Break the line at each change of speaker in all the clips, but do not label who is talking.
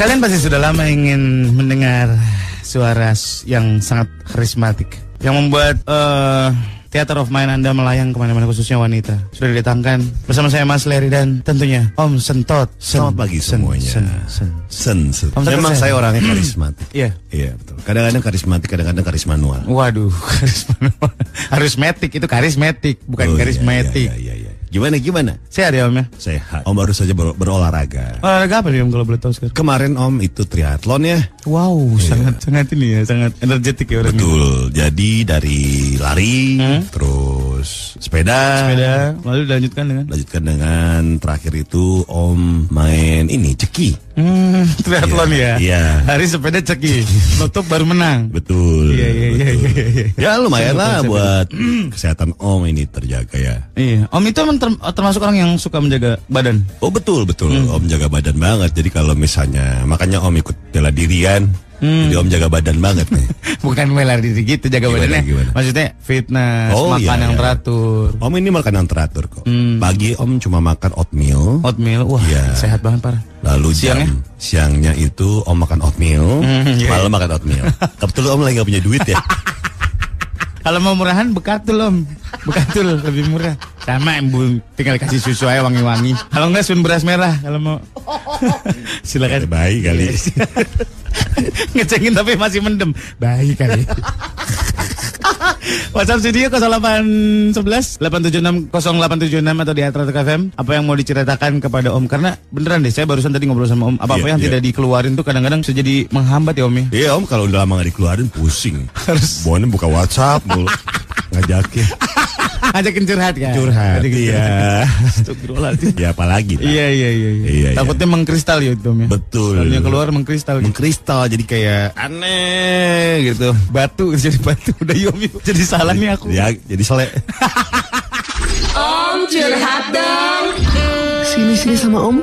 Kalian pasti sudah lama ingin mendengar suara s- yang sangat karismatik Yang membuat eh, teater of mind Anda melayang kemana-mana khususnya wanita Sudah didatangkan bersama saya Mas Leri dan tentunya Om Sentot Sen,
Selamat pagi
sen,
semuanya.
sen, sen.
Sen, sen.
Om Tata
Memang
Sen.
saya orangnya karismatik.
Iya
Iya betul. Kadang-kadang karismatik, kadang-kadang karismanual.
Waduh, karismatik. Harismetik itu karismetik, bukan
Oh, iya,
karismetik.
Iya, iya, iya. Gimana gimana?
Sehat ya Om ya?
Sehat. Om baru saja ber- berolahraga.
Olahraga apa nih Om kalau boleh tahu sekarang?
Kemarin Om itu triathlon ya.
Wow, sangat sangat ini ya, sangat energetik ya orangnya.
Betul. Jadi dari lari, terus sepeda.
Hmm? Sepeda, lalu dilanjutkan dengan
Lanjutkan dengan terakhir itu Om main ini ceki.
Hmm, triathlon
Iya,
ya.
iya.
Hari sepeda ceki, lotok baru menang.
Betul.
Iya, iya, iya,
betul.
iya, iya,
Ya lumayan
Saya
lah
lupa, saya
buat kesehatan Om ini terjaga ya.
Iya, Om itu emang term- termasuk orang yang suka menjaga badan.
Oh betul betul
Hmm.
Om jaga badan banget Jadi kalau misalnya Makanya Om ikut bela dirian
Hmm.
Jadi Om jaga badan banget nih
Bukan melar diri gitu jaga
Gimana,
badannya.
gimana?
Maksudnya fitness,
Oh,
makan
iya,
yang
iya.
teratur.
Om ini makanan teratur kok
Hmm.
Pagi Om cuma makan oatmeal
Oatmeal, wah
Iya.
sehat banget parah.
Lalu siangnya? jam siangnya itu Om makan oatmeal
Hmm, iya,
Malam makan oatmeal Kebetulan Om lagi gak punya duit ya
Kalau mau murahan bekatul om Bekatul lebih murah Sama bu, tinggal kasih susu aja wangi-wangi Kalau enggak sun beras merah Kalau mau
Silakan Baik Eh, kali
Iya, ngecengin tapi masih mendem Baik kali WhatsApp studio 0811 876 0876 atau di Atratek FM Apa yang mau diceritakan kepada Om Karena beneran deh saya barusan tadi ngobrol sama Om Apa-apa
Iya,
yang
iya.
tidak dikeluarin tuh kadang-kadang bisa jadi menghambat ya Om ya
Iya Om kalau udah lama gak dikeluarin pusing
Harus.
Bonnya buka whatsapp mulu Ngajakin
Ajakin curhat kan
Curhat
Ajakin
Iya
Astagfirullahaladzim.
Ya apalagi lah.
Iya iya iya. iya.
Iya, iya.
Takutnya mengkristal ya itu Om, ya.
Betul.
Soalnya keluar mengkristal. gitu.
Mengkristal jadi kayak aneh gitu
Batu jadi batu udah yom yom. Jadi salah nih aku.
Ya, jadi soleh.
Om curhat dong.
Sini sini sama Om.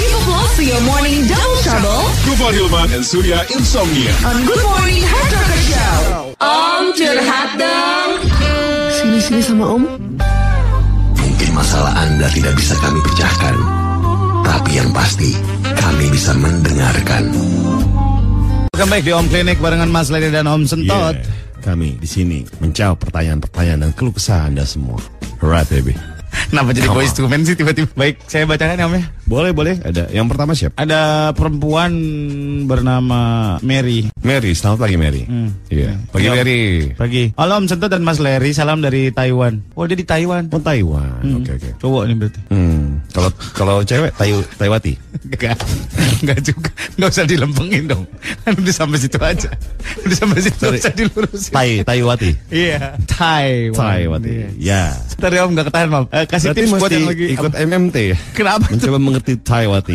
Give applause to your morning double trouble
Gofar Hilman and Surya Insomnia.
on Good Morning Hard Rocker Show. Om curhat dong.
Sini sini sama Om.
Mungkin masalah Anda tidak bisa kami pecahkan, tapi yang pasti kami bisa mendengarkan.
Welcome back di Om Klinik barengan Mas Lady dan Om Sentot.
Iya. Kami di sini menjawab pertanyaan-pertanyaan dan keluh kesah Anda semua. Alright, baby.
Kenapa jadi
Come
voice
on.
to man sih tiba-tiba? Baik, saya bacakan ya Om ya.
Boleh, boleh. Ada yang pertama siapa?
Ada perempuan bernama Mary.
Mary, selamat pagi Mary. Iya. Pagi
Iya.
Mary.
Pagi. Halo Om Sentot dan Mas Larry, salam dari Taiwan. Oh, dia di Taiwan.
Oh, Taiwan. Oke, oke.
Cowok nih berarti.
Hmm. Kalau kalau cewek Tayu Taiwati.
Enggak, enggak juga. Enggak usah dilempengin dong. Kan udah sampai situ aja. Udah sampai situ nggak usah dilurusin.
Tai Taiwati.
Iya. Taiwan.
Taiwati.
Iya.
Ya.
Ntar ya om gak ketahan om Eh, Kasih
Berarti
tips buat
mesti
yang lagi
ikut
apa?
MMT ya.
Kenapa tuh?
Mencoba mengerti Taiwati.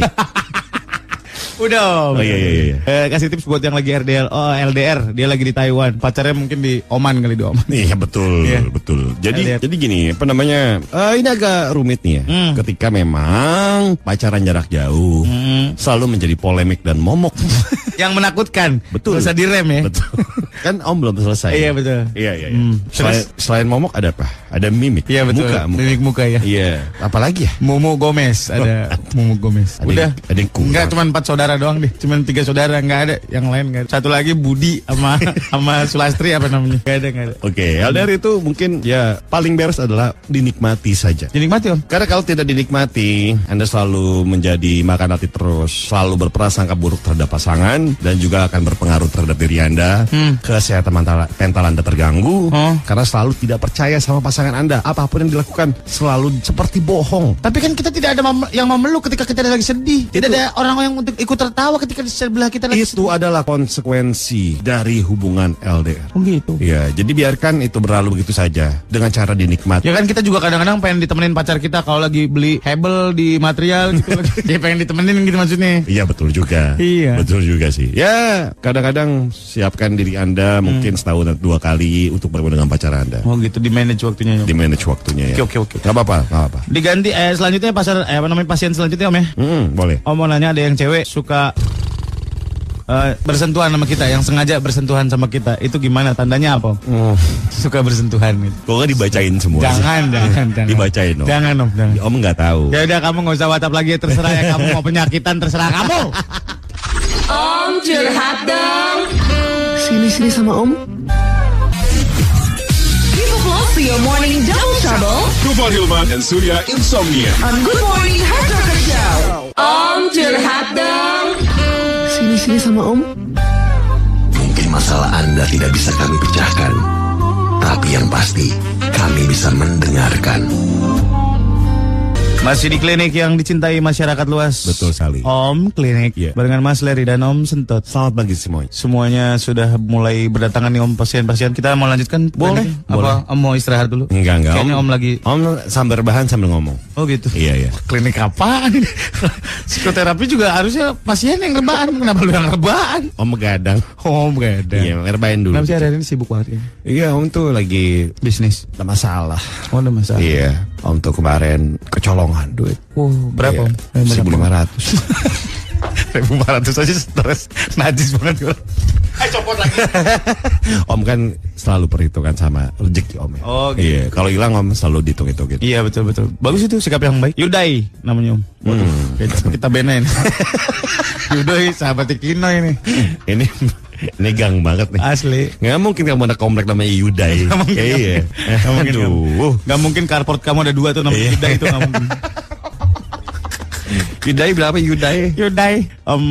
Udah om
Oh, iya, iya, iya.
Eh, Kasih tips buat yang lagi RDL Oh LDR Dia lagi di Taiwan Pacarnya mungkin di Oman kali di Oman
Iya betul,
Iya.
betul. Jadi
Saya lihat.
jadi gini, apa namanya? eh, ini agak rumit nih ya.
Hmm.
Ketika memang pacaran jarak jauh
Hmm.
selalu menjadi polemik dan momok.
Yang menakutkan
Betul.
Gak usah direm ya
betul. Kan Om belum selesai.
Iya, betul.
Iya iya. iya.
Hmm.
Selain, selain momok ada apa? Ada mimik.
Iya betul
Muka. muka.
Mimik muka ya
Iya. Apalagi ya?
Mumu Gomez ada Mumu Gomez.
Ada
Udah.
yang- ada yang kurang.
Enggak cuman empat saudara doang deh. Cuman tiga saudara nggak ada yang lain nggak ada. Satu lagi Budi sama sama Sulastri apa namanya? Nggak ada nggak ada.
Oke, LDR itu mungkin
Iya.
ya paling beres adalah dinikmati saja.
Jadi nikmati om.
Karena kalau tidak dinikmati, Anda selalu menjadi makan hati terus, selalu berprasangka buruk terhadap pasangan, dan juga akan berpengaruh terhadap diri Anda. Kesehatan mental, mental Anda terganggu,
Oh.
karena selalu tidak percaya sama pasangan Anda. Apapun yang dilakukan, selalu seperti bohong.
Tapi kan kita tidak ada mem- yang memeluk ketika kita lagi sedih. Tidak ada orang yang untuk ikut tertawa ketika di sebelah kita lagi
Itu adalah konsekuensi dari hubungan LDR.
sedih. gitu.
Ya, jadi biarkan itu berlalu begitu saja dengan cara dinikmati.
Ya kan kita juga kadang-kadang pengen ditemenin pacar kita kalau lagi beli hebel di material gitu. Dia pengen ditemenin gitu maksudnya.
Iya betul juga.
Iya.
Betul juga sih. Ya, kadang-kadang siapkan diri Anda
Hmm.
mungkin setahun atau dua kali untuk bertemu dengan pacar Anda.
Oh gitu di manage waktunya. Om.
Di manage waktunya ya.
Oke, oke, oke.
Gak apa-apa, gak apa-apa.
Diganti eh selanjutnya pasar eh, apa namanya pasien selanjutnya om ya.
Hmm, boleh.
Om mau nanya ada yang cewek suka eh, bersentuhan sama kita, yang sengaja bersentuhan sama kita, itu gimana tandanya apa? Suka bersentuhan gitu.
Gue gak dibacain semua.
Jangan, jangan, jangan.
Dibacain dong.
Jangan om, jangan.
Om nggak tahu.
Ya udah kamu nggak usah WhatsApp lagi terserah ya kamu mau penyakitan terserah kamu.
Om curhat dong.
Sini sini sama Om.
Give a applause to your morning double trouble
Tufan Hilman and Surya Insomnia.
on Good Morning Harta Kerja. Om curhat dong.
Sini sini sama Om.
Mungkin masalah Anda tidak bisa kami pecahkan, tapi yang pasti kami bisa mendengarkan.
Masih di klinik yang dicintai masyarakat luas.
Betul sekali.
Om klinik
Iya.
barengan Mas Leri dan Om Sentot.
Selamat pagi semuanya.
Semuanya sudah mulai berdatangan nih Om pasien-pasien. Kita mau lanjutkan
Boleh,
kliniknya? Apa Om mau istirahat dulu?
Enggak enggak.
Kayaknya Om lagi.
Om sambil bahan sambil ngomong.
Oh gitu.
Iya iya.
Klinik apaan ini? Psikoterapi juga harusnya pasien yang rebahan. Kenapa lu yang rebahan?
Om begadang.
Om gak ada.
Iya, ngerbain dulu.
Kenapa sih hari ini sibuk banget ya?
Iya, Om tuh lagi
Bisnis.
ada masalah.
Oh ada masalah.
Iya, Om tuh kemarin kecolongan duit.
Wow, berapa Om? Eh, berapa?
Iya, Seribu lima ratus. Seribu lima ratus aja stres, najis banget gue.
Eh,
Ayo copot lagi. om kan selalu perhitungan sama rezeki Om ya.
Oh, gitu.
Iya, kalau hilang Om selalu dihitung-hitung gitu.
Iya betul betul. Bagus itu sikap yang baik. Yudai namanya Om. Waduh,
Hmm.
kita,
Gitu.
kita benain. Yudai sahabat Kino ini.
Ini ini gang banget nih.
Asli.
Nggak mungkin kamu ada komplek namanya Yudai.
Nggak mungkin,
Iya.
Gak mungkin,
Aduh.
gak mungkin carport kamu ada dua tuh namanya
Iya.
Yudai itu gak mungkin.
Yudai berapa Yudai?
Yudai. Om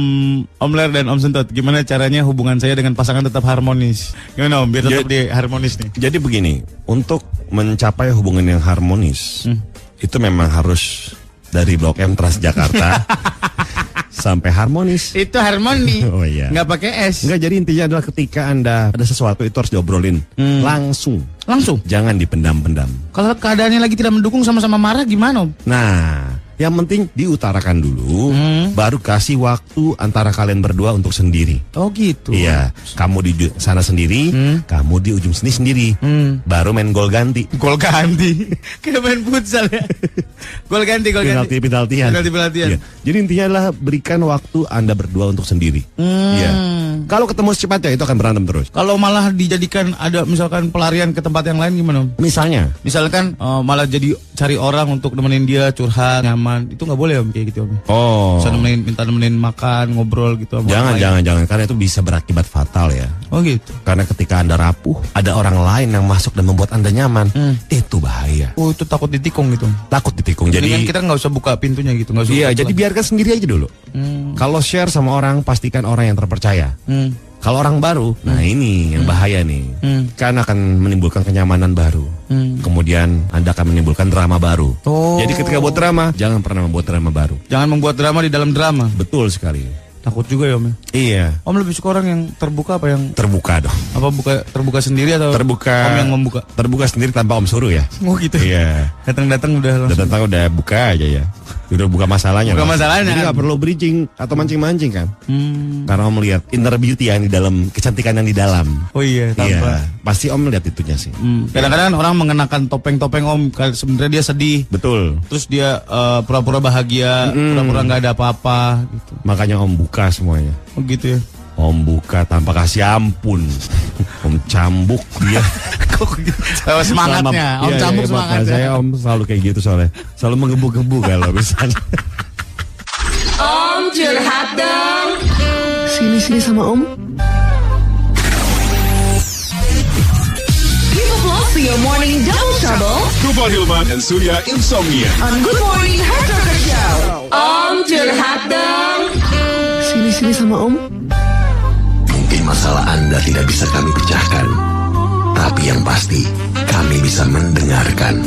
Om Ler dan Om Sentot, gimana caranya hubungan saya dengan pasangan tetap harmonis? Gimana Om biar tetap
Ya-
di harmonis nih?
Jadi begini, untuk mencapai hubungan yang harmonis, itu memang harus dari Blok M Transjakarta sampai harmonis.
Itu harmoni.
Oh, iya.
Nggak pakai es.
Enggak, jadi intinya adalah ketika Anda ada sesuatu itu harus diobrolin langsung.
Langsung.
Jangan dipendam-pendam.
Kalau keadaannya lagi tidak mendukung sama-sama marah gimana Om?
Nah, yang penting diutarakan dulu, baru kasih waktu antara kalian berdua untuk sendiri.
Oh gitu.
Iya, kamu di ju- sana sendiri, kamu di ujung sini sendiri. Baru main gol ganti.
Gol ganti. Kayak main futsal ya. Gol ganti, gol
penalti
ganti.
penaltian.
Penalti-penaltian.
Iya. Jadi intinya adalah berikan waktu Anda berdua untuk sendiri. Iya. Kalau ketemu secepatnya itu akan berantem terus.
Kalau malah dijadikan ada misalkan pelarian ke tempat yang lain gimana? Om?
Misalnya,
Misalkan eh, malah jadi cari orang untuk nemenin dia curhat nyaman itu nggak boleh om kayak gitu om.
oh,
Bisa nemenin, minta nemenin makan ngobrol gitu. sama
jangan
orang lain.
jangan jangan karena itu bisa berakibat fatal ya.
Oh gitu.
Karena ketika Anda rapuh, ada orang lain yang masuk dan membuat Anda nyaman, itu bahaya.
Oh itu takut ditikung gitu.
Takut ditikung.
Mendingan
Jadi
kita nggak usah buka pintunya gitu nggak usah.
Iya,
buka
jadi biarkan sendiri aja dulu. Kalau share sama orang, pastikan orang yang terpercaya.
Hmm.
Kalau orang baru, nah ini yang bahaya nih. Karena akan menimbulkan kenyamanan baru. Kemudian Anda akan menimbulkan drama baru.
Hmm. Oh.
Jadi ketika buat drama, jangan pernah membuat drama baru.
Jangan membuat drama di dalam drama.
Betul sekali.
Takut juga ya om. ya.
Iya,
Om lebih suka orang yang terbuka apa yang
terbuka dong.
apa buka terbuka sendiri atau
Terbuka.
om yang membuka?
Terbuka sendiri tanpa om suruh ya.
Oh gitu.
Iya.
Datang-datang udah
Udah
langsung.
datang udah buka aja ya. Udah buka masalahnya.
Buka
lah.
masalahnya.
Jadi nggak perlu bridging atau mancing-mancing kan.
Hmm.
Karena om melihat inner beauty yang di dalam, kecantikan yang di dalam.
Oh iya, tanpa.
Iya, pasti om lihat itunya sih.
Hmm, Kadang-kadang orang mengenakan topeng-topeng om, kal- sebenarnya dia sedih,
Betul.
terus dia eh, pura-pura bahagia, pura-pura nggak ada apa-apa, gitu.
Makanya om buka semuanya.
Oh gitu ya.
Om buka tanpa kasih ampun. om cambuk dia.
Eh, semangatnya,
Selama-
om ya.
Iya,
cambuk
iya, makanya
semangatnya.
Saya om selalu kayak gitu soalnya. Selalu menggebu-gebu kalau misalnya.
Om curhat dong.
Sini sini sama Om.
Give a applause to your morning double trouble
Tufan Hilman and Surya Insomnia.
on Good Morning Harta Kerja. Om curhat dong.
Sini sini sama Om.
Mungkin masalah Anda tidak bisa kami pecahkan, tapi yang pasti kami bisa mendengarkan.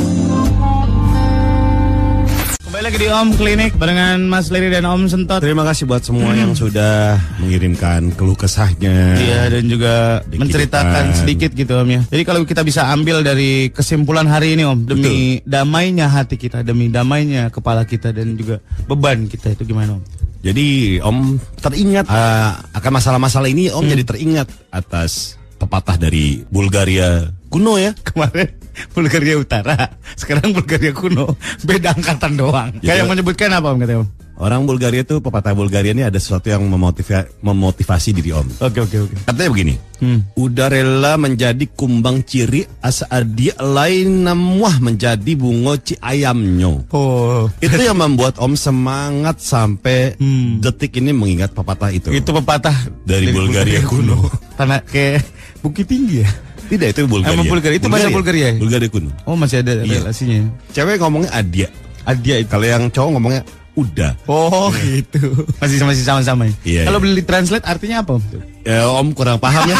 Kembali lagi di Om Klinik barengan Mas Leri dan Om Sentot.
Terima kasih buat semua yang sudah mengirimkan keluh kesahnya.
Iya dan juga
Di
menceritakan
kehidupan.
sedikit gitu om ya. Jadi kalau kita bisa ambil dari kesimpulan hari ini om demi damainya hati kita, demi damainya kepala kita dan juga beban kita itu gimana om?
Jadi Om teringat eh, akan masalah-masalah ini Om
Hmm.
jadi teringat atas pepatah dari Bulgaria kuno ya.
kemarin Bulgaria Utara, sekarang Bulgaria kuno, beda angkatan doang.
Ya,
Kayak
iya.
menyebutkan apa om katanya om?
Eh, Orang Bulgaria tuh pepatah Bulgaria ini ada sesuatu yang memotiva- memotivasi diri Om.
Oke oke oke.
Katanya begini,
Hmm.
udah rela menjadi kumbang ciri asadi lain namuah menjadi bungo ci ayamnyo.
Oh,
Itu yang membuat Om semangat sampai detik ini mengingat pepatah itu.
Hmm. itu pepatah
Dari Bulgaria kuno.
Tanah ke Bukit Tinggi ya.
Tidak itu ya. Bulgaria.
Emang Bulgaria, itu bahasa Bulgaria ya?
Bulgaria kuno.
Oh masih ada
Iya.
relasinya.
Cewek ngomongnya adia.
Adia itu.
Kalau yang cowok ngomongnya udah.
Oh gitu. Masih masih sama-sama ya.
Iya,
Kalau
iya.
beli translate artinya apa? Om?
Ya, om kurang paham ya.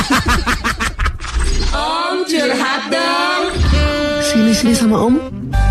Om curhat dong.
Sini sini sama om.